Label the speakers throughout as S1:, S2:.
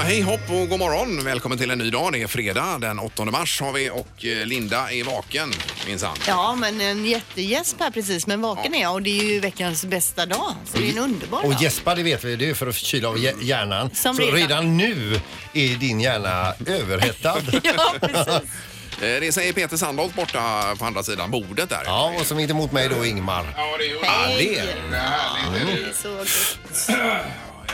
S1: och god morgon. Välkommen till en ny dag. Det är fredag den 8 mars har vi och eh, Linda är vaken minsann.
S2: Ja, men en jättegäsp här precis. Men vaken är jag och det är ju veckans bästa dag. Så det är en underbar
S3: Mm. Och
S2: dag.
S3: gäspa, det vet vi, det är för att kyla av hjär- hjärnan.
S2: Som
S3: så
S2: redan-
S3: redan nu är din hjärna överhettad.
S2: Ja, precis.
S1: Eh, Det säger Peter Sandholt borta på andra sidan bordet där.
S3: Ja, och som inte emot mig då Ingmar.
S1: Ja, det är ju
S3: det är-
S2: Det är så gott.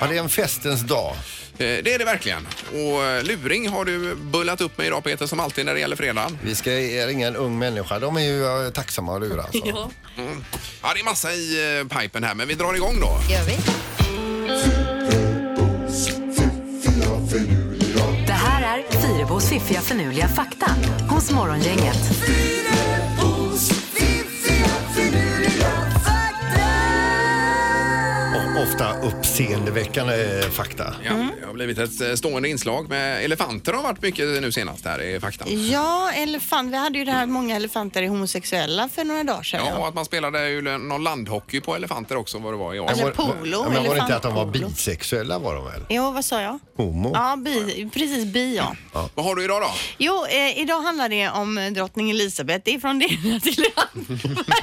S3: Ja, det är en festens dag.
S1: Eh, Det är det verkligen. Och eh, luring har du bullat upp med idag Peter som alltid när det gäller fredagen.
S3: Vi ska ringa en ung människa. De är ju eh, tacksamma att lura. Alltså.
S2: Ja,
S1: Ja, det är massa i eh, pipen här men vi drar igång då.
S2: gör vi.
S4: Det här är Fyrabos fiffiga förnuliga fakta hos Morgongänget.
S3: Och ofta uppseendeväckande eh, fakta.
S1: Ja, Det har blivit ett eh, stående inslag med elefanter har varit mycket nu senast här i fakta.
S2: Ja, elefant. Vi hade ju det här att många elefanter är homosexuella för några dagar sedan.
S1: Ja, och att man spelade ju någon landhockey på elefanter också vad det var i år.
S2: Alltså,
S3: Var- var-
S2: polo,
S3: ja, Men var det inte att de var
S2: elefantpolo.
S3: bisexuella var de väl?
S2: Jo, vad sa jag?
S3: Homo?
S2: Ja, bi, precis bi ja.
S1: Vad har du idag då?
S2: Jo, eh, idag handlar det om eh, drottning Elisabeth. Det är från det ena till det andra.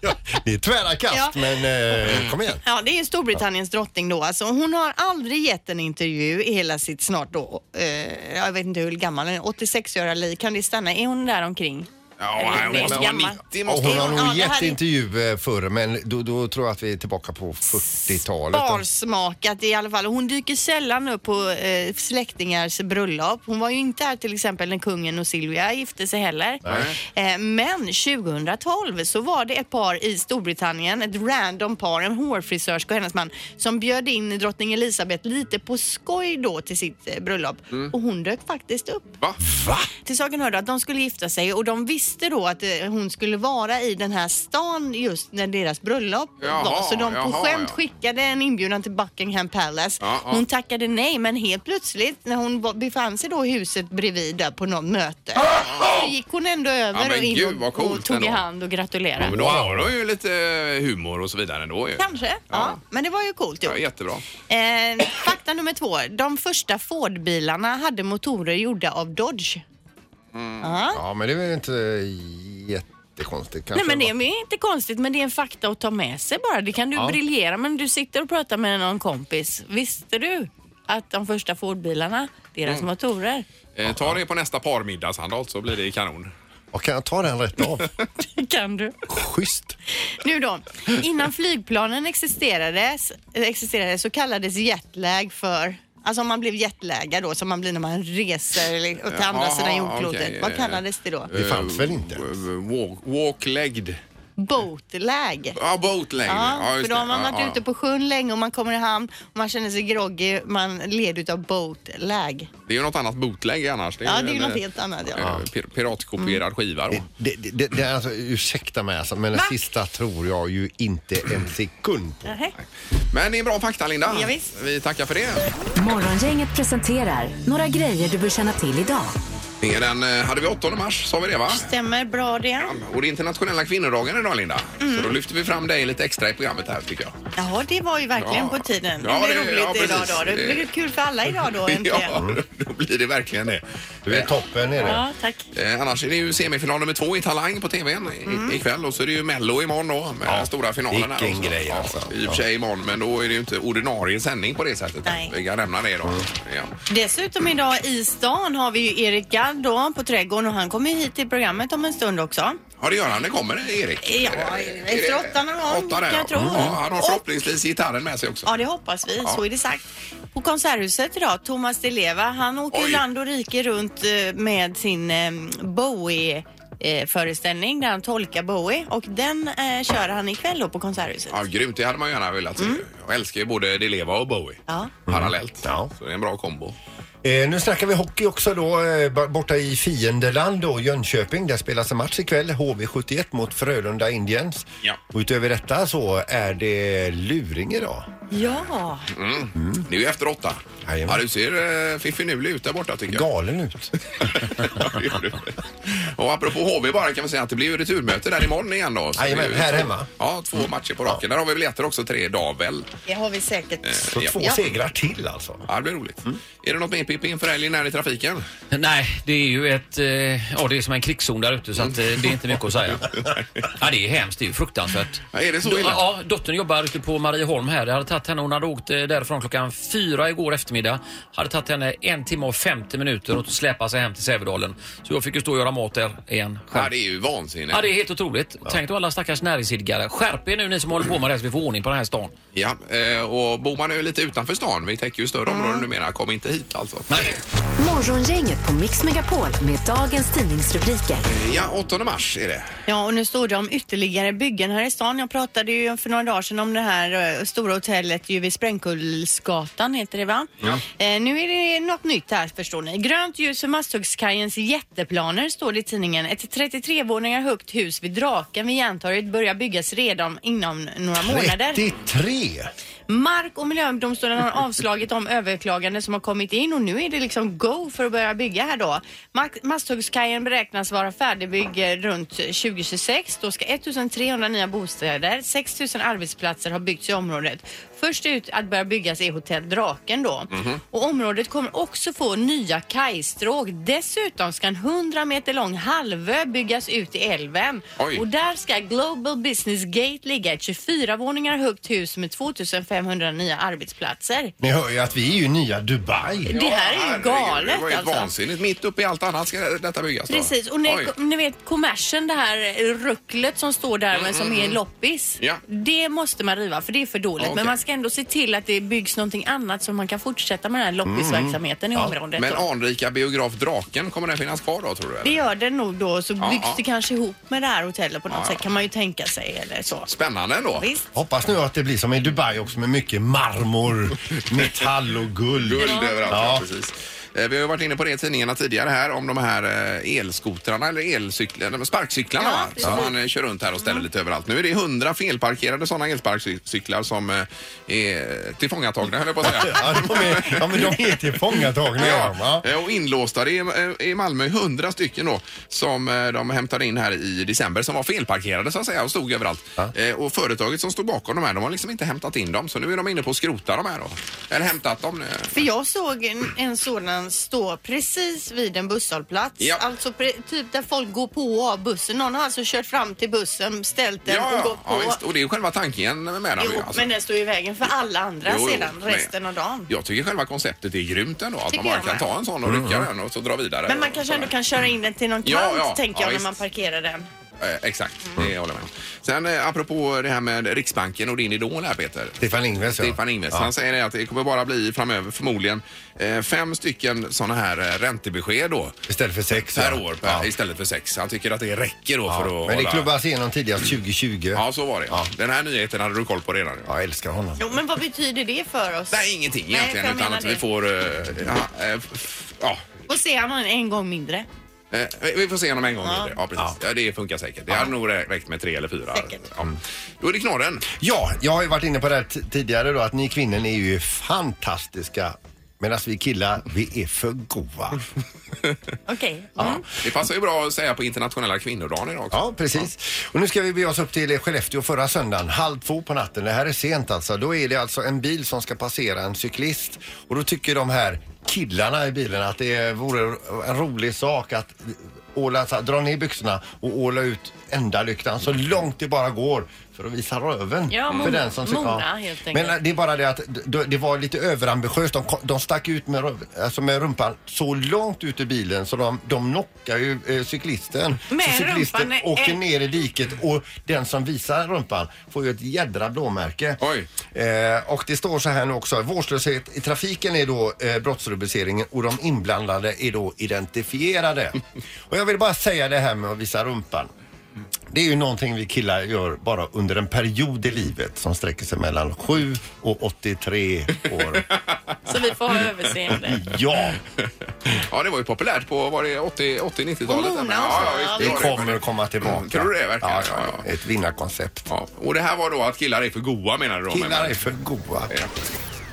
S3: Ja, det är tvära kast,
S2: Ja.
S3: men eh, kom igen.
S2: Ja, det är ju Storbritanniens drottning då. Alltså, hon har aldrig gett en intervju i hela sitt snart då, eh, jag vet inte hur gammal hon är, 86 år liv. Kan det stanna? Är hon där omkring?
S1: Ja,
S2: Eller
S1: hon måste vara
S2: gammal.
S1: 90
S3: Och
S1: måste
S3: hon
S1: hon
S2: Ja,
S3: har
S2: det
S3: nog
S2: här
S3: gett
S2: är-
S3: intervju eh, förr, men då, då tror jag att vi är tillbaka på 40-talet.
S2: Barsmakat i alla fall. Och Hon dyker sällan upp på eh, släktingars bröllop. Hon var ju inte här till exempel när kungen och Silvia gifte sig heller. Eh, men 2012 så var det ett par i Storbritannien, ett random par, en hårfrisörska och hennes man som bjöd in drottning Elisabeth lite på skoj då till sitt eh, bröllop. Och hon dök faktiskt upp.
S1: Va?
S2: Till saken hörde att de skulle gifta sig och de visste då att eh, hon skulle vara i den här stan just när deras bröllop
S1: Jaha,
S2: var. Så de på
S1: jaha,
S2: skämt
S1: ja.
S2: skickade en inbjudan till Buckingham Palace.
S1: Ja, ja.
S2: Hon tackade nej men helt plötsligt när hon var- befann sig då i huset bredvid där på något möte så gick hon ändå över
S1: Ja, men
S2: och in
S1: gud,
S2: och-
S1: vad coolt
S2: och tog i
S1: ändå.
S2: hand och gratulerade.
S1: Men då har hon ju lite eh, humor och så vidare ändå ju.
S2: Kanske, ja.
S1: Ja.
S2: Men det var ju coolt
S1: Ja,
S2: gjort.
S1: jättebra.
S2: Eh, fakta nummer två. De första Ford-bilarna hade motorer gjorda av Dodge. Ja.
S3: Ja, men det är väl inte jättekonstigt kanske.
S2: Nej men det är inte konstigt men det är en fakta att ta med sig bara. Det kan du briljera men du sitter och pratar med någon kompis. Visste du att de första Fordbilarna, deras motorer.
S1: Eh, ta det på nästa parmiddag Sandholt så blir det kanon.
S3: Och kan jag ta den rätt av?
S2: Kan du?
S3: Schysst.
S2: Nu då. Innan flygplanen existerade, existerade så kallades jetlag för Alltså om man blev jetlaggad då som man blir när man reser eller- till andra
S1: Jaha,
S2: sidan jordklotet.
S1: okej.
S2: Vad kallades det då?
S3: Det fanns väl inte?
S1: Eh, Walk, walk-legged.
S2: Boatlag.
S1: Ja, boat-legged.
S2: Ja, för
S1: just
S2: då har
S1: det.
S2: man
S1: Ja,
S2: varit
S1: ja.
S2: ute på sjön länge och man kommer i hamn och man känner sig groggy. Man led utav boatlag.
S1: Det är ju något annat bootleg annars.
S2: Ja, det är ju
S1: en,
S2: något helt annat. Mm. Ja.
S1: eh, pir- Piratkopierad skiva då.
S3: Det, det, det, det är alltså, ursäkta mig alltså, men den
S2: Va?
S3: sista tror jag ju inte en sekund på.
S2: Nähä.
S1: Men det är bra fakta Linda.
S2: Ja, visst.
S1: Vi tackar för det.
S4: Morgongänget presenterar några grejer du bör känna till idag.
S1: Det är Den eh, hade vi 8 mars, sa vi det va?
S2: Stämmer bra det.
S1: Och det är internationella kvinnodagen idag Linda.
S2: Mm.
S1: Så då lyfter vi fram dig lite extra i programmet här tycker jag.
S2: Ja, det var ju verkligen
S1: Ja.
S2: på tiden. Det
S1: Ja,
S2: blir
S1: det- ja,
S2: roligt idag
S1: precis.
S2: då. Det
S1: Det-
S2: blir kul för alla idag då äntligen.
S1: Ja, då blir det verkligen det.
S3: Du är toppen är det.
S2: Ja, tack.
S1: Eh, annars är det ju semifinal nummer två i Talang på TVn i-
S2: Mm.
S1: ikväll och så är det ju Mello imorgon då med den stora finalen. här
S3: vilken
S1: också.
S3: grej alltså.
S1: Ja, I och för sig imorgon men då är det ju inte ordinarie sändning på det sättet.
S2: Nej.
S1: Vi kan nämna det då.
S3: Mm.
S1: Ja.
S2: Dessutom idag i stan har vi ju Erik Gadd då på Trädgården och han kommer ju hit till programmet om en stund också.
S1: Ja det gör han, det kommer Erik.
S2: Ja, efter åtta någon gång,
S1: Åtta där,
S2: kan jag
S1: ja.
S2: tro.
S1: Ja, han har
S2: Och-
S1: förhoppningsvis gitarren med sig också.
S2: Ja, det hoppas vi.
S1: Ja.
S2: Så är det sagt. På Konserthuset idag, Thomas Di Leva, han åker
S1: Oj.
S2: land och rike runt eh, med sin eh, Bowie eh, föreställning där han tolkar Bowie och den eh, kör han ikväll då på Konserthuset.
S1: Ja, grymt. Det hade man gärna velat se. Jag älskar ju både Di Leva och Bowie
S2: Mm. Ja.
S1: parallellt.
S3: Ja.
S1: Så det är en bra kombo.
S3: Eh, nu snackar vi hockey också då, eh, b- borta i fiendeland då, Jönköping. Där spelas en match ikväll, HV71 mot Frölunda Indians.
S1: Ja.
S3: Och utöver detta så är det luring idag.
S2: Ja,
S1: Mm. Det är ju efter åtta.
S3: Jajamän.
S1: Ja, du ser eh, fiffinulig ut där borta tycker jag.
S3: Galen ut.
S1: Ja, det gör du. och apropå HV bara kan vi säga att det blir ju returmöte där imorgon igen då. Så
S3: Jajamän,
S1: det är ju
S3: här
S1: två-
S3: hemma. Mm.
S1: Ja, två matcher på raken. Där har vi biljetter också, tre dagar väl.
S2: det har vi säkert.
S3: Så
S1: Ja.
S3: två
S2: Ja.
S3: segrar till alltså. Mm.
S1: Ja, det blir roligt. Är det något mer Pippi inför helgen här i trafiken?
S5: Nej, det är ju ett... Eh, ja, det är som en krigszon där ute så att, eh, det är inte mycket att säga. Ja, det är hemskt. Det är ju fruktansvärt.
S1: Ja, är det så
S5: Do-
S1: illa?
S5: Ja, dottern jobbar ute på Marieholm här. Det hade tagit henne, hon hade åkt eh, därifrån klockan fyra igår eftermiddag. Hade tagit henne en timme och 50 minuter att släpa sig hem till Sävedalen. Så jag fick ju stå och göra mat där igen. själv.
S1: Ja, det är ju vansinne.
S5: Ja, det är helt otroligt. Tänk då alla stackars näringsidkare. Skärp er nu ni som håller på med det här så vi får ordning på den här stan.
S1: Ja, eh, och bor man nu lite utanför stan, vi täcker ju större områden numera, kom inte hit alltså.
S5: Nej.
S4: Morgongänget på Mix Megapol med dagens tidningsrubriker.
S1: Ja, 8 mars är det.
S2: Ja, och nu står det om ytterligare byggen här i stan. Jag pratade ju för några dagar sedan om det här eh, stora hotellet ju vid Sprängkullsgatan, heter det va? Eh, nu är det något nytt här förstår ni. Grönt ljus för Masthuggskajens jätteplaner står det i tidningen. Ett 33 våningar högt hus vid Draken vid Järntorget börjar byggas redan inom några månader.
S3: 33!
S2: Mark och miljödomstolen har avslagit de överklaganden som har kommit in och nu är det liksom go för att börja bygga här då. Mark- Masthuggskajen beräknas vara färdigbyggd runt 2026. Då ska 1300 nya bostäder, 6000 arbetsplatser ha byggts i området. Först ut att börja byggas är hotell Draken då. Och området kommer också få nya kajstråk. Dessutom ska en 100 meter lång halvö byggas ut i älven.
S1: Oj.
S2: Och där ska Global Business Gate ligga, ett 24 våningar högt hus med 2500 nya arbetsplatser.
S3: Ni hör ju att vi är ju nya Dubai.
S2: det här är ju
S1: Herregud,
S2: galet
S1: Det var ju
S2: alltså.
S1: vansinnigt. Mitt uppe i allt annat ska detta byggas. då.
S2: Precis, och ni,
S1: Oj.
S2: ni vet kommersen, det här rucklet som står där men som är loppis.
S1: Mm, Ja.
S2: Det måste man riva för det är för dåligt.
S1: Ja, okej.
S2: Men man ska ändå se till att det byggs någonting annat så man kan fortsätta med den här loppisverksamheten i området.
S1: Mm, Men
S2: då.
S1: anrika biograf Draken, kommer den finnas kvar då tror du?
S2: det
S1: eller?
S2: gör det nog då, så
S1: Ja,
S2: byggs
S1: ja.
S2: det kanske ihop med det här hotellet på något
S1: Ja,
S2: sätt
S1: ja.
S2: kan man ju tänka sig eller så.
S1: Spännande ändå.
S2: Visst.
S3: Hoppas nu att det blir som i Dubai också med mycket marmor, metall och guld.
S1: Guld överallt, ja.
S3: Ja.
S1: precis. Eh, Vi har ju varit inne på det i tidningarna tidigare här om de här eh, elskotrarna eller elcyklarna, de sparkcyklarna va? som man eh, kör runt här och ställer lite överallt. Nu är det hundra felparkerade sådana elsparkcyklar som eh, är tillfångatagna höll jag på att säga.
S3: Ja, de är, ja, men de är tillfångatagna. är de, va?
S1: Ja, eh, och inlåsta. Det är eh, i Malmö hundra stycken då som eh, de hämtade in här i december som var felparkerade så att säga och stod överallt. Eh, Och företaget som stod bakom de här, de har liksom inte hämtat in dem så nu är de inne på att skrota de här då. Eller hämtat dem. eh.
S2: För jag såg en, en sådan stå precis vid en busshållplats.
S1: Ja.
S2: Alltså pre, typ där folk går på och av bussen. Någon har alltså kört fram till bussen, ställt den och gått
S1: ja,
S2: på.
S1: visst. Och det är ju själva tanken med dem.
S2: jo,
S1: ju, alltså.
S2: Men den står ju i vägen för alla andra
S1: Jo, jo,
S2: sedan
S1: men-
S2: resten av dagen.
S1: Jag tycker själva konceptet är grymt ändå. Att man
S2: Tycker
S1: bara
S2: jag
S1: kan
S2: med.
S1: ta en sån och rycka
S3: Mm.
S1: den och så dra vidare.
S2: Men man
S1: och
S2: kanske ändå
S1: sådär.
S2: kan köra in den till någon kant
S1: Ja, ja,
S2: tänker
S1: ja,
S2: jag när
S1: visst.
S2: man parkerar den.
S1: Eh, exakt,
S2: Mm.
S1: det håller jag med om. Sen eh, apropå det här med Riksbanken och din idol här Peter.
S3: Stefan Ingves, ja.
S1: Stefan Ingves, han säger det att det kommer bara bli framöver förmodligen eh, fem stycken sådana här eh, räntebesked då
S3: Istället för sex.
S1: per
S3: ja.
S1: år per,
S3: Ja.
S1: istället för sex. Han tycker att det räcker då för att
S3: Men det
S1: hålla-
S3: klubbas igenom tidigast 2020.
S1: Ja, så var det. Den här nyheten hade du koll på redan.
S3: Jag älskar honom.
S2: Jo, men vad betyder det för oss?
S1: Nej, ingenting
S2: Nej,
S1: egentligen
S2: för jag
S1: utan
S2: menar
S1: att vi
S2: det.
S1: får... eh, ja, eh, f- ja,
S2: Och se han en gång mindre.
S1: Eh, vi- vi får se honom en gång. Ja. Ja, precis. Ja. det funkar säkert. Det hade nog rä- räckt med tre eller fyra.
S2: Säkert.
S1: Ja. Då är det knorren.
S3: Ja, jag har ju varit inne på det här t- tidigare då att ni kvinnor är ju fantastiska medan vi killar, vi är för goa.
S2: Okej.
S1: Ja. Det passar ju bra att säga på internationella kvinnodagen idag också.
S3: Ja, precis. Och nu ska vi bege oss upp till Skellefteå förra söndagen, halv två på natten. Det här är sent alltså. Då är det alltså en bil som ska passera en cyklist och då tycker de här killarna i bilen att det vore en rolig sak att åla, så här, dra ner byxorna och åla ut ändalyktan så långt det bara går för att visa röven.
S2: Ja,
S3: för
S2: Mona-
S3: cyklar.
S2: Mona, helt enkelt.
S3: Men det är bara det att d- det var lite överambitiöst. De, kom- de stack ut med, röv- alltså med rumpan så långt ut ur bilen så de, de knockar ju eh, cyklisten.
S2: Med
S3: så cyklisten
S2: rumpan,
S3: åker
S2: eh.
S3: ner i diket och den som visar rumpan får ju ett jädra blåmärke.
S1: Oj.
S3: Eh, och det står så här nu också. Vårdslöshet i trafiken är då eh, brottsrubriceringen och de inblandade är då identifierade. och jag vill bara säga det här med att visa rumpan. Det är ju någonting vi killar gör bara under en period i livet som sträcker sig mellan 7 och 83 år.
S2: Så vi får ha överseende.
S3: Ja,
S1: Ja, det var ju populärt på var det 80, 80-90-talet.
S2: Och Mona
S1: Ja,
S2: och så.
S1: ja, visst,
S3: det
S1: var
S3: kommer att komma tillbaka.
S1: Mm, tror du det verkligen?
S3: Ja,
S1: Ja, ja.
S3: Ett vinnarkoncept.
S1: Ja. Och det här var då att killar är för goa menar du? då,
S3: Killar
S1: men-
S3: är för goa.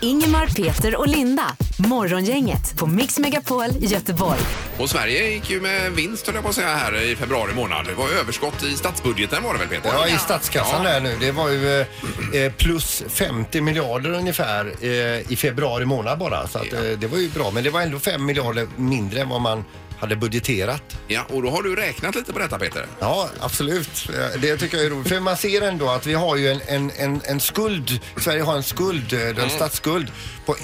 S4: Ingemar, Peter och Linda. Morgongänget på Mix Megapol Göteborg.
S1: Och Sverige gick ju med vinst höll jag på att säga här i februari månad. Det var överskott i statsbudgeten var det väl Peter?
S3: Ja, i statskassan där nu. Det var ju eh, eh, plus 50 miljarder ungefär eh, i februari månad bara. Så att, eh, det var ju bra. Men det var ändå 5 miljarder mindre än vad man hade budgeterat.
S1: Ja, och då har du räknat lite på detta Peter.
S3: Ja, absolut. Eh, Det tycker jag är roligt. För man ser ändå att vi har ju en, en, en, en skuld. Sverige har en skuld, eh, en statsskuld på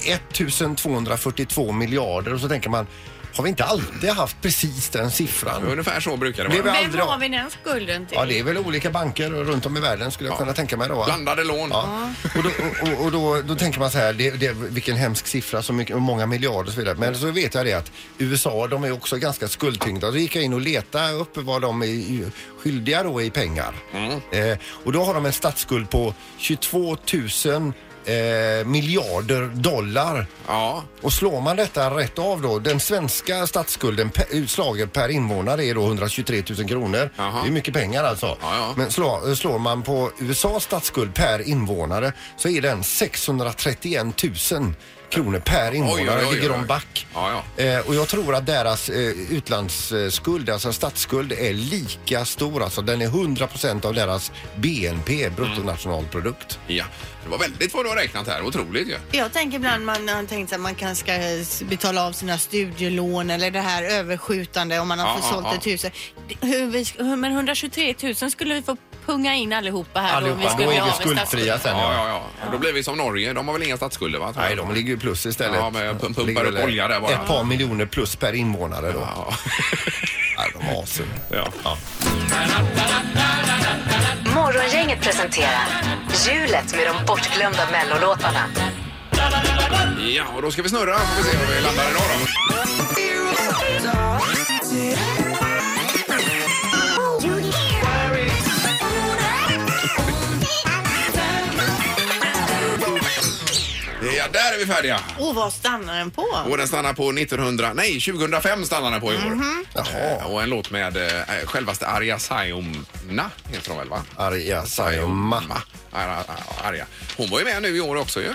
S3: 1242 miljarder. Och så tänker man, har vi inte alltid haft precis den siffran?
S1: Ungefär så brukar det vara.
S3: Det är väl-
S2: Vem
S3: aldrig-
S2: har vi den skulden till?
S3: Ja, det är väl olika banker runt om i världen skulle jag kunna tänka mig då. va?
S1: Blandade lån.
S3: Ja. Och, då, och, och då, då tänker man så här, det, det, vilken hemsk siffra, så mycket, och många miljarder och så vidare. Men så vet jag det att USA, de är också ganska skuldtyngda. Då gick jag in och letade upp vad de är skyldiga då i pengar. Eh, och då har de en statsskuld på 22 000 eh, miljarder dollar.
S1: Ja.
S3: Och slår man detta rätt av då, den svenska statsskulden per, utslaget per invånare är då 123 000 kronor.
S1: Jaha.
S3: Det är mycket pengar alltså.
S1: ja.
S3: Men slår, slår man på USAs statsskuld per invånare så är den 631 000 kronor per invånare.
S1: oj, oj,
S3: ligger de
S1: oj.
S3: back.
S1: Ja,
S3: Eh, och jag tror att deras eh, utlandsskuld, alltså statsskuld, är lika stor. Alltså den är 100 av deras BNP, bruttonationalprodukt.
S1: ja. Det var väldigt vad du har räknat här. Otroligt ju.
S2: Jag tänker ibland man har tänkt att man kanske ska eh, betala av sina studielån eller det här överskjutande om man har
S1: Ja,
S2: fått
S1: ja,
S2: sålt
S1: ja.
S2: ett hus. Det- Hur vi, sk- hur- men 123 000 skulle vi få punga in allihopa här om vi
S3: Allihopa,
S2: skulle
S3: då
S2: bli
S3: är
S2: av
S3: vi
S2: med statsskuld.
S3: skuldfria sen.
S1: Ja, ja, ja. Då blir vi som Norge. De har väl inga statsskulder va? tror jag.
S3: Nej, de ligger ju plus istället.
S1: Ja, men jag pum- pumpar
S3: Ligger
S1: upp
S3: väl
S1: olja där bara.
S3: Ett par miljoner plus per invånare då.
S1: Ja.
S3: Nej, de har asum.
S1: ja.
S4: Morgongänget presenterar Hjulet med de bortglömda mellolåtarna.
S1: Ja, och då ska vi snurra. Får vi se var vi landar idag då. Ja, där är vi färdiga.
S2: Och vad stannar den på?
S1: Och den stannar på 1900, nej 2005 stannar den på i år. Eh, Och en låt med eh, självaste Arja Saijonmaa heter hon väl va? Ah,
S3: Arja Saijonmaa.
S1: Arja, Arja. Hon var ju med nu i år också ju.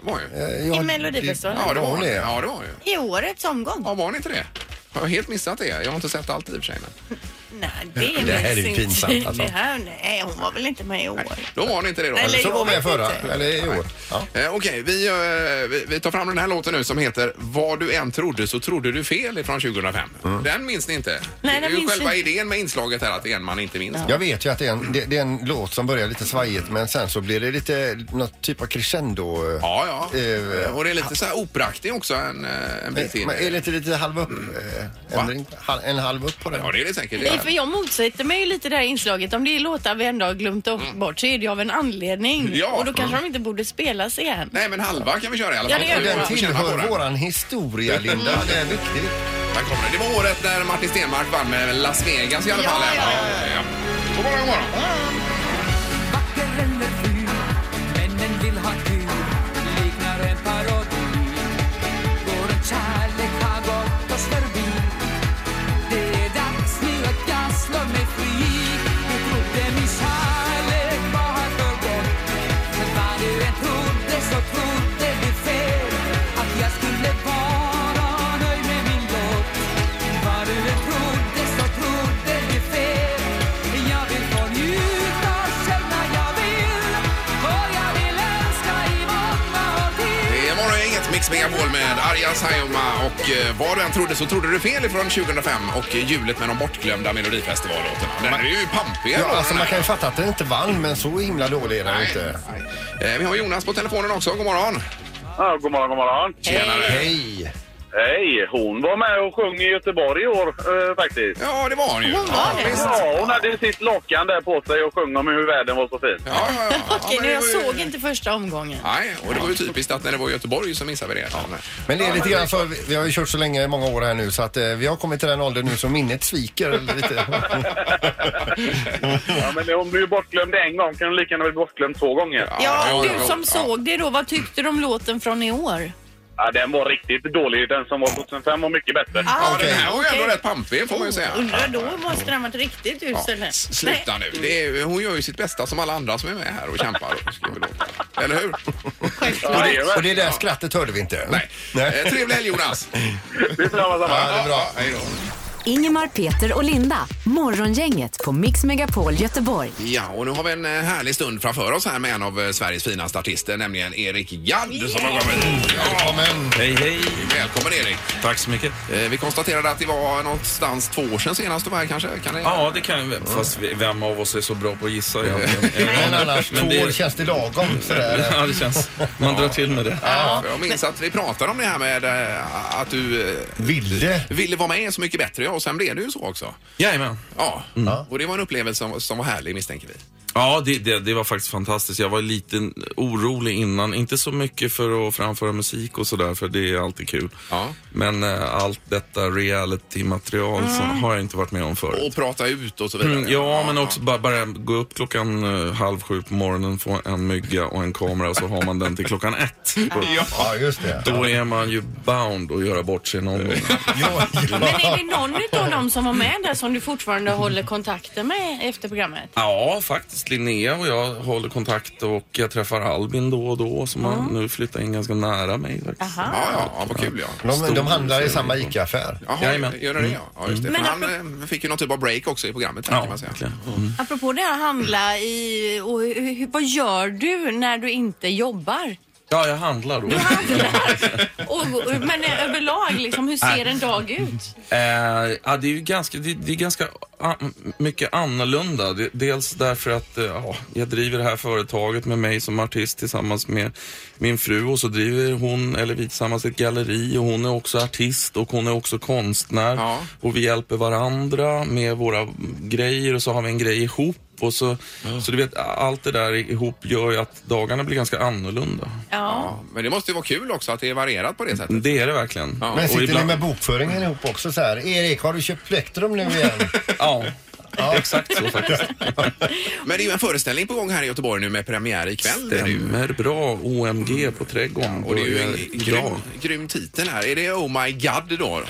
S1: Var ju.
S2: I
S3: Ja,
S2: Melodifestivalen?
S1: Ja, det var hon.
S3: det.
S1: Ja, det var hon ju.
S2: I årets omgång?
S1: Ja, var hon inte det? Jag har helt missat det. Jag har inte sett allt i och för sig. Men.
S2: Nej, det är,
S3: Det här är
S2: minst inte.
S3: pinsamt, alltså.
S2: Det här, nej, hon var väl inte med i år.
S1: Då var hon inte det då.
S3: Eller så var
S2: jag
S3: med
S2: vet
S3: förra,
S2: inte.
S3: eller i år. Ja.
S1: Eh, Okej, vi, eh, vi, vi tar fram den här låten nu som heter Vad du än trodde så trodde du fel från 2005. Den minns ni inte?
S2: den
S1: det är ju
S2: minns
S1: själva
S2: inte.
S1: idén med inslaget här att det är en man inte minns.
S3: Jag vet ju att det är, en, det, det är en låt som börjar lite svajigt men sen så blir det lite något typ av crescendo. eh.
S1: Ja, ja.
S3: Eh,
S1: och det är lite så här opraktig också en, eh, en bit in.
S3: Men är det inte lite halv upp? eh,
S1: Va?
S3: Ändring, hal, en halv upp på den?
S1: Ja, det är det säkert.
S2: Nej, för jag motsätter mig ju lite det här inslaget. Om det är låtar vi ändå har glömt och-
S3: Mm.
S2: bort så är det ju av en anledning.
S1: Ja.
S2: Och då kanske
S1: Mm.
S2: de inte borde spelas igen.
S1: Nej, men halva kan vi köra i alla
S2: Ja,
S1: fall.
S2: det gör vi.
S1: Så vi
S3: Den
S1: får känna på
S3: tillhör
S1: den. Mm.
S3: våran historia, Linda. Det är viktigt.
S1: Där kommer den. Det var året när Martin Stenmarck vann med Las Vegas i alla
S2: Ja,
S1: fall.
S2: ja,
S1: ja. ja. God morgon, god morgon.
S6: Vacker eller ful, männen vill ha kul Liknar en parodi Vår kärlek har gått oss förbi Det är dags nu att jag slår mig fri Du trodde min kärlek var förgått Men vad du än trodde så trodde du fel Att jag skulle vara nöjd med min låt Vad du än trodde så trodde du fel Jag vill få njuta, känna jag vill Och jag vill älska i många år till
S1: Det är Morgongänget Mix Megapol med Arja Saijonmaa och eh, vad du än trodde så trodde du fel ifrån 2005 och eh, hjulet med de bortglömda Melodifestivallåtarna. Den är ju pampig. den
S3: Ja,
S1: här.
S3: alltså man kan ju fatta att den inte vann men så himla dålig är den
S1: Nej,
S3: inte.
S1: nej. Eh, Vi har Jonas på telefonen också. God morgon.
S7: Ja, god morgon, god morgon.
S1: Tjenare.
S3: Hej!
S7: Hej, hon var med och sjöng i Göteborg i år eh, faktiskt.
S1: Ja, det var han ju.
S2: Hon var det.
S1: visst.
S7: Ja, hon hade sitt lakan där på sig och sjöng om hur världen var så fin.
S1: Ja, ja, ja. Ja,
S2: Okej,
S1: men
S2: nu
S1: det
S2: jag
S1: var ju-
S2: såg inte första omgången.
S1: Nej, och det var ju typiskt att när det var i Göteborg så missade vi det. Men-
S3: Men det är lite grann så, vi- vi har ju kört så länge, många år här nu så att eh, vi har kommit till den åldern nu som minnet sviker lite.
S7: Ja, men hon blev ju bortglömd en gång kan hon lika gärna bli bortglömd två gånger.
S2: Ja,
S1: jo,
S2: du
S1: jo,
S2: som
S1: ja.
S2: såg det då, vad tyckte du om låten från i år?
S7: Ja, den var riktigt dålig. Den som var 2005 var mycket bättre.
S1: Ja,
S2: okej.
S1: den här var ju ändå
S2: Okej. Oh,
S1: rätt pampig får man ju säga.
S2: Ah. Undrar då måste den varit riktigt usel.
S1: Ja,
S2: här.
S1: s- sluta nu. Det är, hon gör ju sitt bästa som alla andra som är med här och kämpar. ska vi låta. Eller hur?
S7: Ja, det
S3: Och
S7: är
S3: det där skrattet hörde vi inte.
S1: Nej. Eh, Trevlig helg Jonas.
S7: det. är samma, samma.
S3: Ja, det är bra.
S1: Hej då.
S4: Ingemar, Peter och Linda. Morgongänget på Mix Megapol Göteborg.
S1: Ja, och nu har vi en eh, härlig stund framför oss här med en av eh, Sveriges finaste artister, nämligen Erik Gadd som har kommit hit. Ja,
S3: Amen.
S8: Hej, hej.
S1: välkommen Erik.
S8: Tack så mycket.
S1: Eh, Vi konstaterade att det var någonstans två år sedan senast du var här kanske? Kan det...
S8: Ja, det kan ju- Fast vi- vem av oss är så bra på att gissa egentligen?
S3: Men annars,
S8: Men
S3: två
S8: det-
S3: år känns det lagom sådär.
S8: Ja, det känns. Man drar till med det.
S1: Ja, för jag minns att vi pratade om det här med eh, att du eh,
S3: Ville.
S1: ville vara med Så mycket bättre ja, och sen blev det ju så också.
S8: Jajamän.
S1: Ja,
S8: Mm.
S1: och det var en upplevelse som, som var härlig misstänker vi.
S8: Ja, det, det, det var faktiskt fantastiskt. Jag var lite orolig innan. Inte så mycket för att framföra musik och sådär, för det är alltid kul.
S1: Ja.
S8: Men eh, allt detta reality-material som har jag inte varit med om förut.
S1: Och prata ut och så vidare.
S8: Mm, ja, men också bara, bara gå upp klockan eh, halv sju på morgonen, få en mygga och en kamera och så har man den till klockan ett.
S3: Ja, just det.
S8: Då är man ju bound att göra bort sig någon gång.
S3: Jo,
S2: Men är det någon av dem som var med där som du fortfarande håller kontakten med efter programmet?
S8: Ja, faktiskt. Linnea och jag håller kontakt och jag träffar Albin då och då som har nu flyttat in ganska nära mig. Faktiskt.
S2: Aha.
S1: Ja, ja, ja, vad kul ja.
S3: De, de handlar i samma ICA-affär.
S1: Jaha,
S8: Jajamän. Mm.
S1: gör det det ja. ja just det.
S2: Men
S1: Men han eh, fick ju någon typ av break också i programmet. kan man säga.
S8: verkligen.
S2: Apropå det här handla i... Och, hur- hur- vad gör du när du inte jobbar?
S8: Ja, jag handlar då.
S2: Du handlar. och, och, men överlag, liksom, hur ser en dag ut?
S8: Eh, ja, det är ju ganska, det, det är ganska a- mycket annorlunda. Det, dels därför att eh, ja, jag driver det här företaget med mig som artist tillsammans med min fru och så driver hon, eller vi tillsammans, ett galleri och hon är också artist och hon är också konstnär.
S1: Ja.
S8: Och vi hjälper varandra med våra grejer och så har vi en grej ihop. Och så, så du vet, allt det där ihop gör ju att dagarna blir ganska annorlunda.
S2: Ja.
S1: Ja, men det måste ju vara kul också att det är varierat på det sättet.
S8: Det är det verkligen.
S1: Ja.
S3: Men
S8: Och
S3: sitter
S8: ibland-
S3: ni med bokföringen ihop också så här? Erik, har du köpt plektrum nu igen?
S8: Ja, exakt så faktiskt.
S1: Men det är ju en föreställning på gång här i Göteborg nu med premiär ikväll. Det är det ju.
S8: Stämmer bra. OMG på trädgården.
S1: Och det är ju en
S8: börjar idag.
S1: grym, grym titel här. Är det Oh My God då?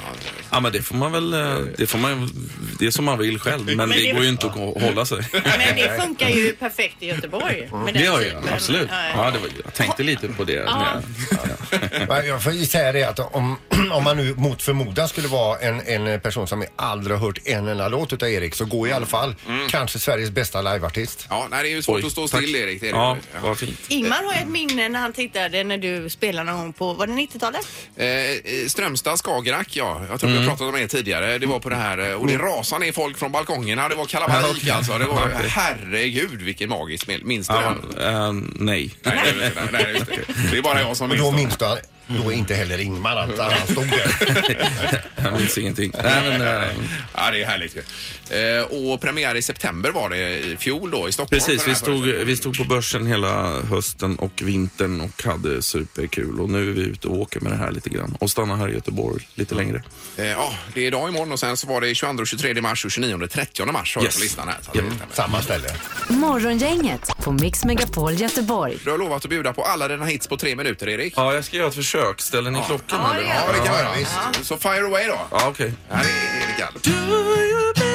S8: Ja, men det får man väl... eh, Det, får man, det är som man vill själv, men, det,
S2: det-
S8: går ju inte att gå- hålla sig.
S2: Men det funkar ju perfekt i Göteborg. Med
S8: Det
S2: den
S8: gör
S2: typen.
S8: jag, absolut.
S2: Ja, ja.
S8: Ja, det var, jag tänkte lite på det.
S2: Ja.
S3: Ja, Jag får ju säga det att om, om man nu mot förmodan skulle vara en, en person som aldrig har hört en enda låt utav Erik så går i alla fall kanske Sveriges bästa liveartist.
S1: Ja, nej, det är ju svårt
S8: Oj,
S1: att stå
S8: tack.
S1: still Erik. Det är det.
S8: Ja,
S1: ju.
S8: vad fint.
S2: Ingmar har ju ett minne när han tittade när du spelade någon gång på, var det 90-talet?
S1: Eh, Strömstad, Skagerrak, ja. Jag tror vi
S8: Mm.
S1: har pratat om det tidigare. Det var på det här eh, och det rasade ner folk från balkongerna. Det var kalabalik alltså. Det var, herregud vilken magisk mil- minns du
S8: Ja,
S1: den?
S8: eh, nej.
S1: Nej, nej, nej, nej, just det. Det är bara jag som
S3: Och då
S1: minns dem.
S3: minns du han, då är inte heller Ingmar att han stod där.
S8: Jag minns ingenting. Nej, men, eh,
S1: Ja, det är härligt ju. Eh, och premiär i september var det i fjol då i Stockholm. för
S8: precis,
S1: den
S8: vi
S1: här
S8: stod,
S1: föreställningen.
S8: vi stod på börsen hela hösten och vintern och hade superkul. Och nu är vi ute och åker med det här lite grann och stannar här i Göteborg lite längre.
S1: Eh, Ja, det är idag imorgon och sen så var det 22, 23 mars och 29, 30 mars har jag
S8: Yes.
S1: på listan här. Så att det
S8: Ja.
S1: stämmer.
S3: Samma ställe.
S4: Morgongänget på Mix Megapol Göteborg.
S1: Du har lovat att bjuda på alla dina hits på tre minuter, Erik.
S8: Ja, jag ska göra ett försök. Ställer ni klockan?
S2: Ja, det
S8: eller?
S2: gör
S1: Ja, det kan
S3: Ja,
S1: vi
S3: ja,
S1: göra.
S3: visst.
S1: Så fire away då.
S8: Ja, okej.
S1: Här är Erik Alp.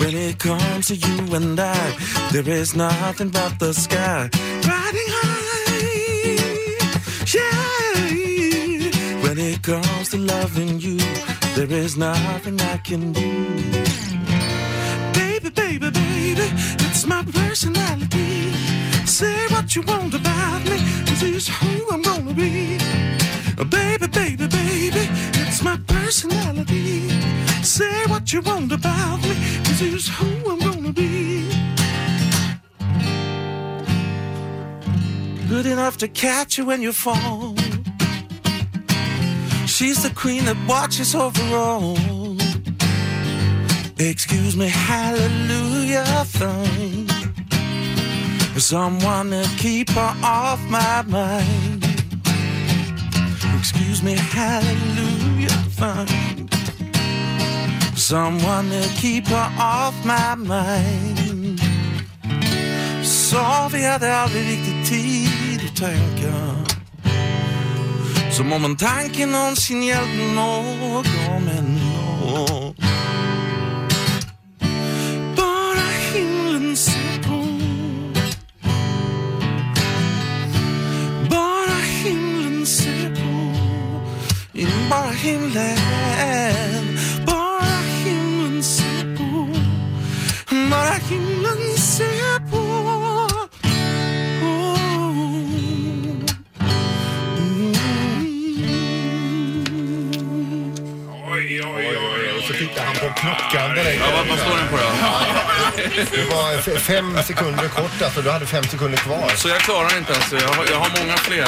S9: When it comes belong to you and I. There is nothing but the sky. Riding high. Yeah. When it comes to loving you, there is nothing I can do. Baby, baby, baby, it's my personality. Say what you want about me, this is who I'm gonna be. Baby, baby, baby, it's my personality. Say what you want about me, this is who I'm gonna be. Good enough to catch you when you fall. She's the queen that watches over all. Excuse me, hallelujah, thank someone to keep her off my mind. Excuse me, hallelujah, thank someone to keep her off my mind. Så vi hade aldrig riktigt tid att tänka. Som om en tanke någonsin gällde någon ändå. Bara himlen ser på Bara himlen ser på In- Bara himlen Bara himlen ser på Bara himlen ser på Mm.
S1: Oj, oj, oj.
S3: Och så tittar han på klockan
S8: Ja, vad,
S3: direkt.
S8: vad står den på då?
S3: Det var f- fem sekunder kort alltså. Du hade fem sekunder kvar.
S8: Så jag klarar inte ens. Jag har, jag har många fler.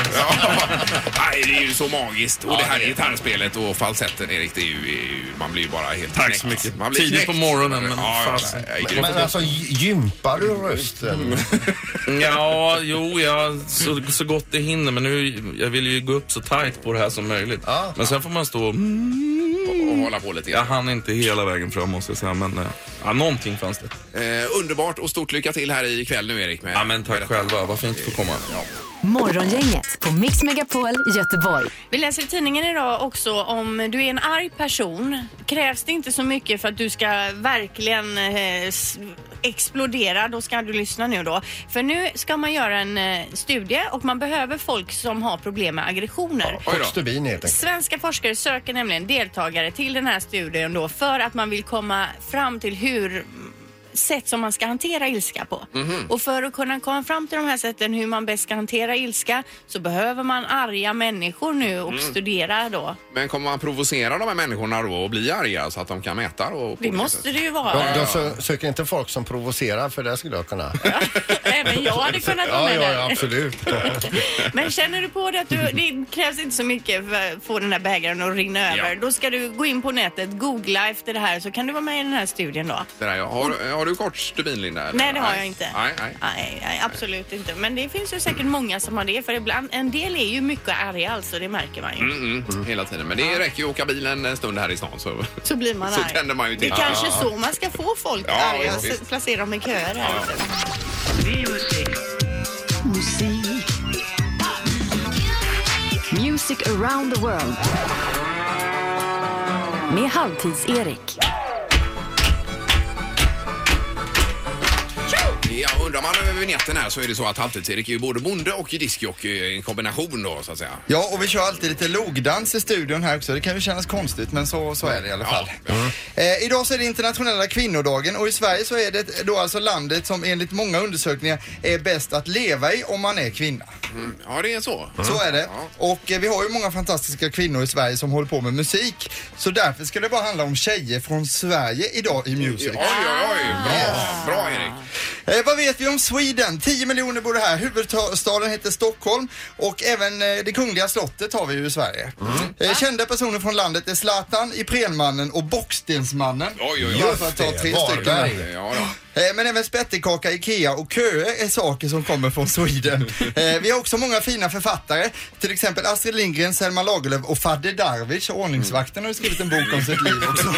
S1: Nej, det är ju så magiskt. Och det här gitarrspelet och falsetten, Erik, det är ju, är ju, man blir ju bara helt
S8: Tack
S1: knäckt.
S8: så mycket.
S1: Man blir
S8: Tidigt
S1: knäckt.
S8: på morgonen, men
S1: ja,
S8: fasen.
S1: ja, ja,
S3: Men alltså gy- gympar du rösten?
S8: Ja, jo, jag, så, så gott det hinner. Men nu, jag vill ju gå upp så tajt på det här som möjligt.
S3: Ja.
S8: Men sen får man stå...
S2: Mm.
S1: och hålla på lite
S8: Jag
S1: grann.
S8: hann inte hela vägen fram måste jag säga, men eh, ja, någonting fanns det.
S1: Eh, underbart och stort lycka till här ikväll nu, Erik. Med,
S8: Ja, men tack själva. Vad fint att få komma.
S4: Morgongänget på Mix Megapol Göteborg.
S2: Vi läser i tidningen idag också om du är en arg person krävs det inte så mycket för att du ska verkligen eh, s- explodera. Då ska du lyssna nu då. För nu ska man göra en eh, studie och man behöver folk som har problem med aggressioner.
S1: Oj då.
S3: Stubin helt enkelt.
S2: Svenska forskare söker nämligen deltagare till den här studien då för att man vill komma fram till hur sätt som man ska hantera ilska på.
S3: Mhm.
S2: Och för att kunna komma fram till de här sätten hur man bäst ska hantera ilska så behöver man arga människor nu och
S3: Mm.
S2: studera
S3: Oh,
S2: då.
S1: Men kommer man provocera de här människorna då och bli arga så att de kan mäta? Och,
S2: Det måste det ju
S3: De,
S2: vara.
S3: de sö- söker inte folk som provocerar för det skulle jag kunna.
S2: Även jag hade kunnat vara
S3: Ja,
S2: med
S3: ja, ja,
S2: där.
S3: absolut.
S2: Men känner du på det att du, det krävs inte så mycket för att få den här bägaren att rinna
S1: Ja.
S2: över. Då ska du gå in på nätet, googla efter det här så kan du vara med i den här studien då.
S1: Det där, ja. har, har du kort stubin, Linda? eller?
S2: Nej, det har jag inte.
S1: Nej, nej.
S2: Nej, nej, absolut inte. Men det finns ju säkert många som har det. För ibland, en del är ju mycket arga alltså, det märker man ju.
S1: Mm, mm, hela tiden. Men det räcker ju att åka bilen en stund här i stan. Så.
S2: Så blir man
S1: Så
S2: arg.
S1: tänder man ju till.
S2: Det är
S1: Ja.
S2: kanske så man ska få folk
S1: Ja,
S2: arga,
S1: ja,
S2: så
S1: visst.
S2: placera dem i köer här. ute.
S4: Music around the world. Med Halvtids-Erik.
S1: Ja, undrar man över vignetten här så är det så att Halvtids-Erik är ju både bonde och diskjockey i en kombination då så att säga.
S10: Ja, och vi kör alltid lite logdans i studion här också. Det kan ju kännas konstigt, men så, så är det i alla fall. Eh, idag så är det internationella kvinnodagen och i Sverige så är det då alltså landet som enligt många undersökningar är bäst att leva i om man är kvinna.
S1: Ja, det är så.
S10: Eh, Så är det. Och eh, vi har ju många fantastiska kvinnor i Sverige som håller på med musik. Så därför ska det bara handla om tjejer från Sverige idag i
S1: Oj,
S10: music.
S1: oj, oj. Bra, bra Erik.
S10: Eh, vad vet vi om Sweden? 10 miljoner bor det här. Huvudstaden heter Stockholm och även eh, det kungliga slottet har vi ju i Sverige.
S1: Mm.
S10: Eh, kända personer från landet är Zlatan, Iprenmannen och Bockstensmannen.
S1: Oj, oj,
S10: Bara
S1: oj.
S10: för att ta
S3: det,
S10: tre
S3: Varberg.
S10: stycken. här.
S1: Ja, då.
S10: Eh, Men även spettekaka, Ikea och köer är saker som kommer från Sweden. Eh, Vi har också många fina författare, till exempel Astrid Lindgren, Selma Lagerlöf och Fadde Darwich, ordningsvakten, har ju skrivit en bok om sitt liv också.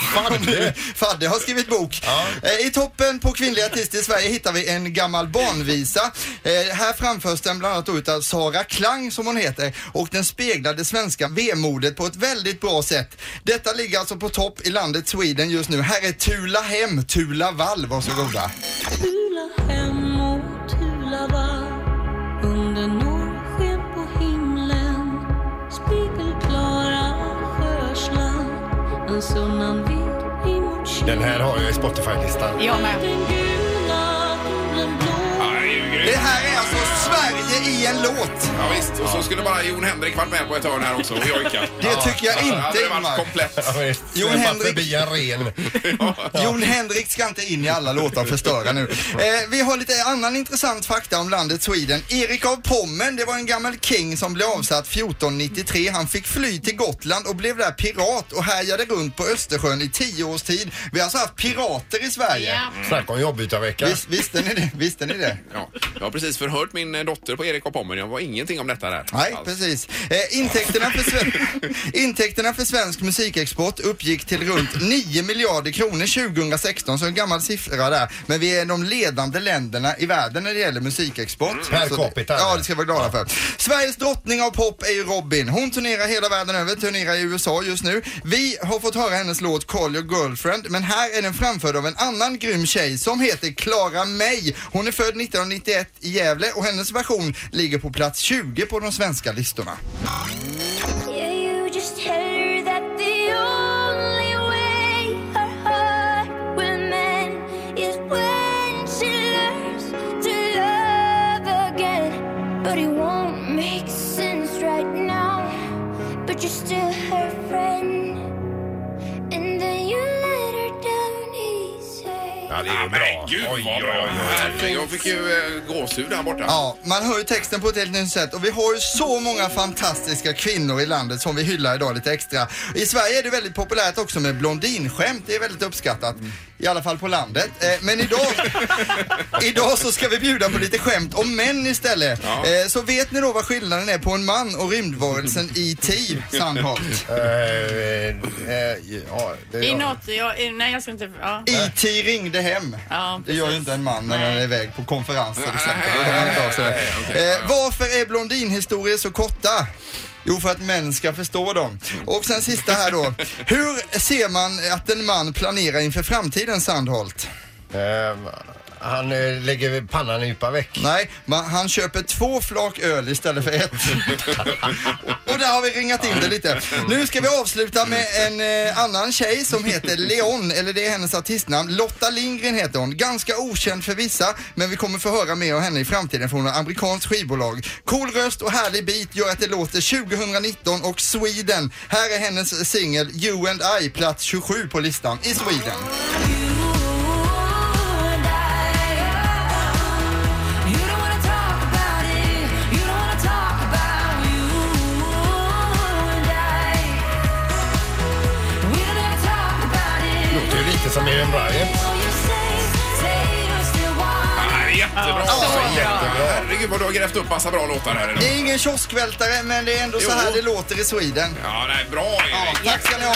S10: Fadde, Fadde har skrivit bok. Eh, I toppen på kvinnliga artister i Sverige hittar vi en gammal barnvisa. Eh, Här framförs den bland annat då utav Sara Klang, som hon heter, och den speglar det svenska vemodet på ett väldigt bra sätt. Detta ligger alltså på topp i landet Sweden just nu. Här är Tula Hem, Tula Vall. Varsågoda.
S11: Tula hem och tula vall under norrsken på himlen Spiegelklara sjöarsland en sunnan vind emot
S3: Den här har jag i Spotify-listan.
S11: Jag med. Den gula himlen
S10: Det här är alltså Sverige i en låt.
S1: Ja, visst. Och så skulle bara Jon Henrik varit med på ett hörn här också och jojka.
S10: Det tycker jag inte,
S1: Det hade varit
S10: Ingmar.
S1: komplett.
S10: Jon
S3: Släppa
S10: Henrik-
S3: förbi en ren.
S10: Jon Henrik ska inte in i alla låtar och förstöra nu. Eh, vi har lite annan intressant fakta om landet Sweden. Erik av Pommern, det var en gammal king som blev avsatt 1493. Han fick fly till Gotland och blev där pirat och härjade runt på Östersjön i tio års tid. Vi har alltså haft pirater i Sverige.
S3: Snacka om jobbytarvecka.
S10: Visst, visste ni det? Visste ni det?
S1: Ja, jag har precis förhört min eh, dotter på Erik och Pommern. Jag var ingenting om detta där. Alltså,
S10: Nej, precis. Eh, intäkterna, för sven- intäkterna för svensk musikexport uppgick till runt 9 miljarder kronor 2016, så en gammal siffra där. Men vi är de ledande länderna i världen när det gäller musikexport.
S3: Per
S10: Så-
S3: capita,
S10: Ja,
S3: eller?
S10: det ska vi vara glada för. Sveriges drottning av pop är ju Robin. Hon turnerar hela världen över, turnerar i USA just nu. Vi har fått höra hennes låt Call Your Girlfriend, men här är den framförd av en annan grym tjej som heter Clara May. Hon är född 1991 i Gävle och hennes version ligger på plats 20 på de svenska listorna.
S11: Yeah, you just tell her that the only way her heart will mend is when she learns to love again. But it won't make sense right now. But you're still her friend. And then you let her down easy.
S3: Ja, det är ju bra.
S1: Gud vad
S3: Oj, oj,
S1: bra!
S3: oj.
S1: Herregud, Jag fick ju eh, gåshud här borta.
S10: Ja, man hör ju texten på ett helt nytt sätt och vi har ju så många fantastiska kvinnor i landet som vi hyllar idag lite extra. I Sverige är det väldigt populärt också med blondinskämt, det är väldigt uppskattat. I alla fall på landet. Eh, Men idag, idag så ska vi bjuda på lite skämt om män istället.
S1: Ja.
S10: Eh, Så vet ni då vad skillnaden är på en man och rymdvarelsen E.T. Sandholt?
S3: Eh, eh, eh, ja, det
S2: Det är
S3: jag.
S2: något, jag, nej jag ska inte, ja.
S10: E.T. ringde hem.
S2: ja
S10: Det gör ju inte en man när han är iväg på konferens till exempel.
S1: Nej,
S10: Då kan man inte ha sig.
S1: nej, okej.
S10: Eh, Varför är blondinhistorier så korta? Jo, för att män ska förstå dem. Mm. Och sen sista här då. Hur ser man att en man planerar inför framtiden, Sandholt?
S3: Eh, han eh, lägger pannan i djupa veck.
S10: Nej, man, han köper två flak öl istället för ett. Och där har vi ringat in det lite. Nu ska vi avsluta med en eh, annan tjej som heter Leon, eller det är hennes artistnamn. Lotta Lindgren heter hon. Ganska okänd för vissa, men vi kommer få höra mer om henne i framtiden från ett amerikanskt skivbolag. Cool röst och härlig beat gör att det låter 2019 och Sweden. Här är hennes singel You and I, plats 27 på listan i Sweden.
S3: Låter ju lite som Miriam Bryant.
S1: Ja, Jättebra! Jättebra. Herregud vad du har grävt upp massa bra låtar här
S10: Det
S1: idag.
S10: är ingen kioskvältare, men det är ändå så
S1: Jo.
S10: här det låter i Sweden.
S1: Ja, nej, bra Erik!
S10: Tack ska ni ha.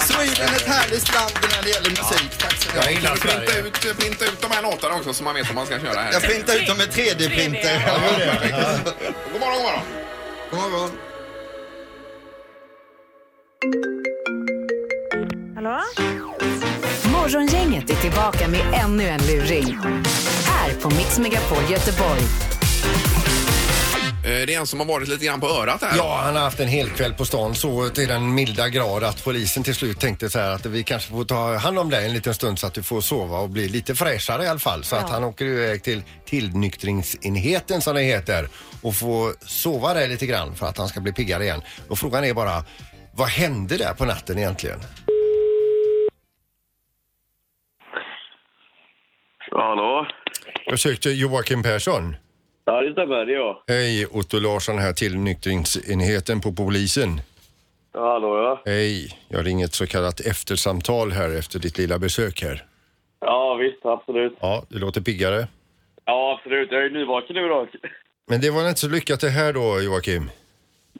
S10: Sweden är ett härligt land när det gäller musik. Tack ska ni ha.
S3: Jag gillar
S1: Kan du printa
S3: Sverige.
S1: ut, printa ut de här låtarna också så man vet vad man ska köra här?
S10: Jag printar ut dem med 3D-printer.
S1: God morgon, god morgon!
S10: God morgon.
S4: Morgongänget är tillbaka med ännu en luring. Här på Mix Megapol Göteborg.
S1: Eh, Det är en som har varit lite grann på örat här.
S3: Ja, han har haft en hel kväll på stan så till den milda grad att polisen till slut tänkte så här att vi kanske får ta hand om dig en liten stund så att du får sova och bli lite fräschare i alla fall. Så att han åker iväg till tillnyktringsenheten som det heter och får sova där lite grann för att han ska bli piggare igen. Och frågan är bara, vad hände där på natten egentligen?
S7: Hallå?
S3: Jag sökte Joakim Persson.
S7: Ja, det stämmer. Det är jag.
S3: Hej, Otto Larsson här till nykteringsenheten på polisen.
S7: Ja, hallå, ja.
S3: Hej, jag ringer ett så kallat eftersamtal här efter ditt lilla besök här.
S7: Ja, visst. Absolut.
S3: Ja, det låter piggare.
S7: Ja, absolut. Jag är nyvaken nu då.
S3: Men det var inte så lyckat det här då, Joakim?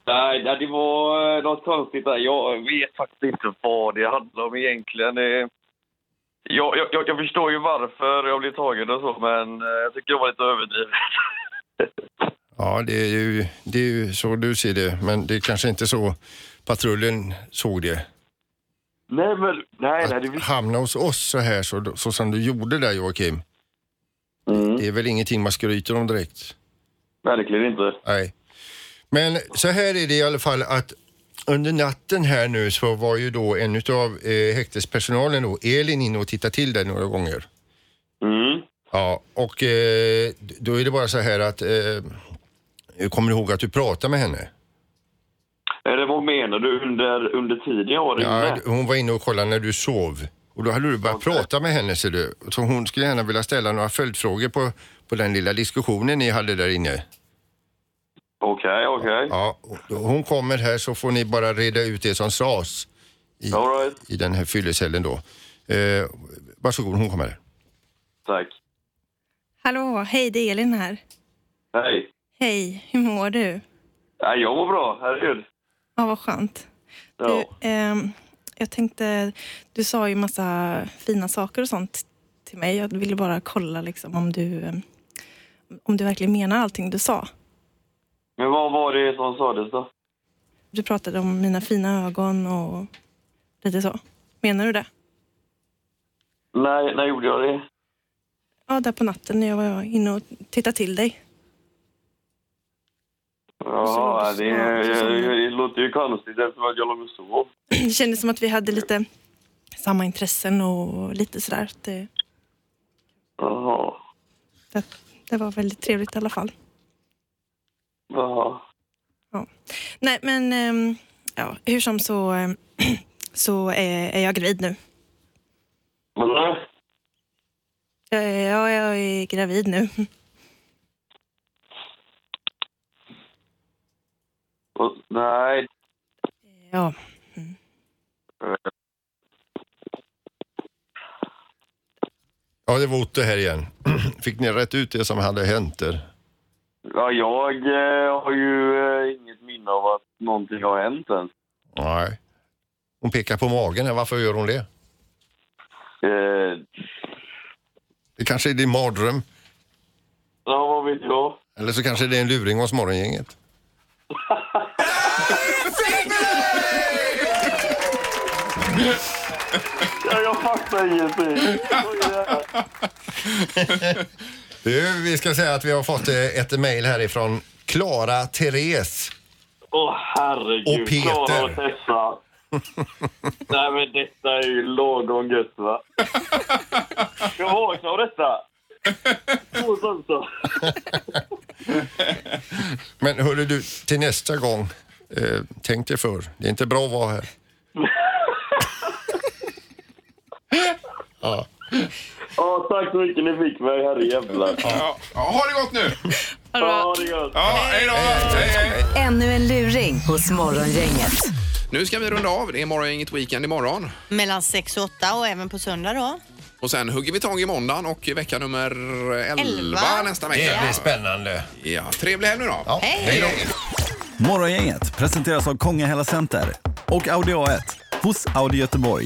S7: Nej, nej, det var eh, något konstigt där. Jag vet faktiskt inte vad det handlar om egentligen. Eh, Jag, jag- jag, jag förstår ju varför jag blev tagen och så, men eh, jag tycker det var lite överdrivet.
S3: Ja, det är, ju, det är ju så du ser det, men det är kanske inte så patrullen såg det.
S7: Nej, men nej, nej, det visste
S3: Hamna hos oss så här så, så som du gjorde där Joakim.
S7: Mm.
S3: Det är väl ingenting man skryter om direkt.
S7: verkligen inte.
S3: Nej. Men så här är det i alla fall att under natten här nu så var ju då en utav eh, häktespersonalen då, Elin, inne och tittade till dig några gånger.
S7: Mm.
S3: Ja, och eh, då är det bara så här att eh, jag kommer du ihåg att du pratade med henne?
S7: Eller vad menar du under, under tiden jag var
S3: Ja,
S7: inne?
S3: d- hon var inne och kollade när du sov och då hade du börjat prata med henne ser du. Så hon skulle gärna vilja ställa några följdfrågor på, på den lilla diskussionen ni hade där inne.
S7: Okej, okej.
S3: Ja, då hon kommer här så får ni bara reda ut det som sades i, i den här fyllecellen då. Eh, varsågod, hon kommer här.
S7: Tack.
S12: Hallå, hej, det är Elin här.
S7: Hej.
S12: Hej, hur mår du?
S7: Nej, jag mår bra, herregud.
S12: Ja, vad skönt.
S7: Ja.
S12: Ehm, jag tänkte, du sa ju massa fina saker och sånt till mig. Jag ville bara kolla liksom om du, ehm, om du verkligen menar allting du sa.
S7: Men vad var det som sades då?
S12: Du pratade om mina fina ögon och lite så. Menar du det?
S7: När, när gjorde jag det?
S12: Ja, där på natten när jag var inne och tittade till dig.
S7: Ja, det, det, det låter ju konstigt eftersom att jag låg och sov.
S12: Det kändes som att vi hade lite samma intressen och lite sådär. Det,
S7: Jaha.
S12: det var väldigt trevligt i alla fall.
S7: Jaha.
S12: Nej, men ehm, ja, hur som så, ehm, så är, är jag gravid nu.
S7: Vadå?
S12: Ja, jag är gravid nu.
S7: Och- Nej.
S12: Ja.
S3: Ja, det var Otto här igen. Fick ni rätt ut det som hade hänt där?
S7: Ja, jag eh, har ju eh, inget minne av att någonting har hänt än.
S3: Nej. Hon pekar på magen här, varför gör hon det?
S7: Eh,
S3: Det kanske är din mardröm,
S7: ja, vad vet jag?
S3: eller så kanske det är en luring hos morgongänget.
S7: Ja, jag fattar ingenting.
S3: Du, vi ska säga att vi har fått eh, ett mejl härifrån Klara Therese.
S7: Åh, herregud.
S3: Och Peter.
S7: Klara och Tessa. Nej, men detta är ju lagom gött, va? Jag vaknar av detta. Och sånt så.
S3: Men hörru du, till nästa gång, eh, tänk dig för. Det är inte bra att vara här. ja.
S7: Ja, tack så mycket ni fick mig, herrejävlar.
S1: Ja, ha det gott nu!
S7: Ha det gott.
S1: Ja, hej då! Hej, hej.
S4: Ännu en luring hos Morgongänget.
S1: Nu ska vi runda av. Det är morgon, inget weekend imorgon.
S2: Mellan 6 och 8 och även på söndag då.
S1: Och sen hugger vi tag i måndagen och vecka nummer 11,
S2: Elva.
S1: nästa
S3: Det
S1: vecka.
S3: blir spännande.
S1: Ja, trevlig helg nu då!
S2: Hej!
S13: Morgongänget presenteras av Kongahälla Center och Audi A1 hos Audi Göteborg.